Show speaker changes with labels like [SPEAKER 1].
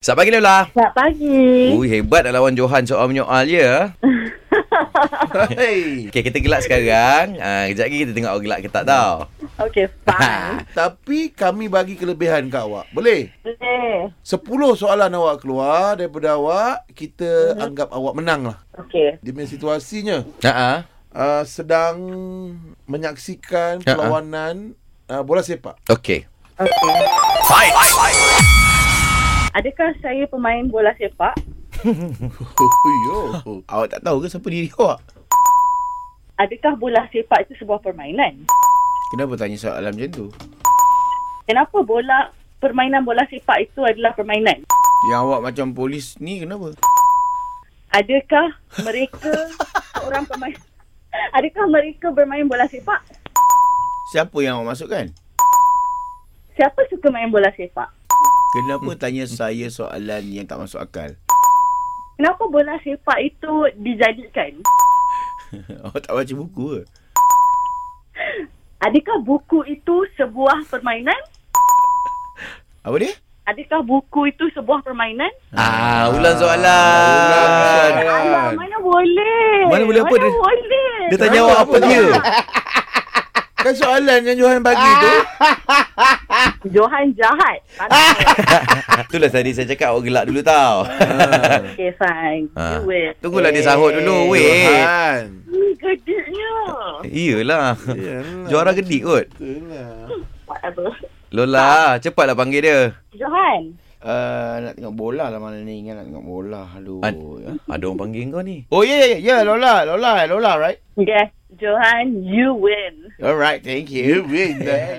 [SPEAKER 1] Selamat pagi Lola.
[SPEAKER 2] Selamat pagi.
[SPEAKER 1] Ui hebat dah lawan Johan soal menyoal ya. Hey. Okay, kita gelak sekarang. Ah, kejap lagi kita tengok awak gelak ke tak tau.
[SPEAKER 2] Okay, fine.
[SPEAKER 3] Tapi kami bagi kelebihan kat awak. Boleh?
[SPEAKER 2] Boleh.
[SPEAKER 3] Sepuluh soalan awak keluar daripada awak, kita
[SPEAKER 4] Mhm.
[SPEAKER 3] hmm. anggap awak menang lah.
[SPEAKER 2] Okay.
[SPEAKER 3] Dia punya situasinya
[SPEAKER 1] Ha ah.
[SPEAKER 3] uh, sedang menyaksikan
[SPEAKER 1] Ya, ah.
[SPEAKER 3] perlawanan uh, bola sepak.
[SPEAKER 1] Okey.
[SPEAKER 2] Okay. Adakah saya pemain bola sepak?
[SPEAKER 3] Yo.
[SPEAKER 4] Awak tak tahu ke siapa diri awak?
[SPEAKER 2] Adakah bola sepak itu sebuah permainan?
[SPEAKER 4] Kenapa tanya soalan macam tu?
[SPEAKER 2] Kenapa bola permainan bola sepak itu adalah permainan?
[SPEAKER 4] Yang awak macam polis ni kenapa?
[SPEAKER 2] Adakah mereka seorang pemain Adakah mereka bermain bola sepak?
[SPEAKER 4] Siapa yang awak masukkan?
[SPEAKER 2] Siapa suka main bola sepak?
[SPEAKER 4] Kenapa tanya saya soalan yang tak masuk akal?
[SPEAKER 2] Kenapa bola sepak itu dijadikan?
[SPEAKER 4] awak tak baca buku ke?
[SPEAKER 2] Adakah buku itu sebuah permainan?
[SPEAKER 4] Apa dia?
[SPEAKER 2] Adakah buku itu sebuah permainan?
[SPEAKER 1] Ah, ulang soalan.
[SPEAKER 4] Ulang soalan.
[SPEAKER 2] Alah, mana boleh?
[SPEAKER 1] Kan. Mana boleh apa
[SPEAKER 2] Mana
[SPEAKER 1] dia-
[SPEAKER 2] boleh?
[SPEAKER 1] Dia tak jawab apa dia.
[SPEAKER 3] kan soalan yang Johan bagi tu.
[SPEAKER 2] Johan jahat.
[SPEAKER 1] Itulah tadi saya cakap awak gelak dulu tau.
[SPEAKER 2] okay, fine.
[SPEAKER 1] Ah.
[SPEAKER 2] You will.
[SPEAKER 1] Tunggulah dia sahut dulu weh.
[SPEAKER 3] Eh, Johan.
[SPEAKER 2] Ih, gedeknya.
[SPEAKER 1] Iyalah.
[SPEAKER 3] Yalah.
[SPEAKER 1] Juara gedik kot.
[SPEAKER 3] Itulah.
[SPEAKER 2] Whatever.
[SPEAKER 1] Lola, cepatlah panggil dia.
[SPEAKER 2] Johan.
[SPEAKER 4] Uh, nak tengok bola lah malam ni. Ingat nak tengok bola. Aduh.
[SPEAKER 1] An- Oh, ya. Ada orang panggil kau ni.
[SPEAKER 4] Oh, ya, yeah, ya, yeah, yeah. Lola. Lola, Lola, right?
[SPEAKER 2] Yes, Johan, you win.
[SPEAKER 4] Alright, thank
[SPEAKER 3] You
[SPEAKER 4] you.
[SPEAKER 3] win that.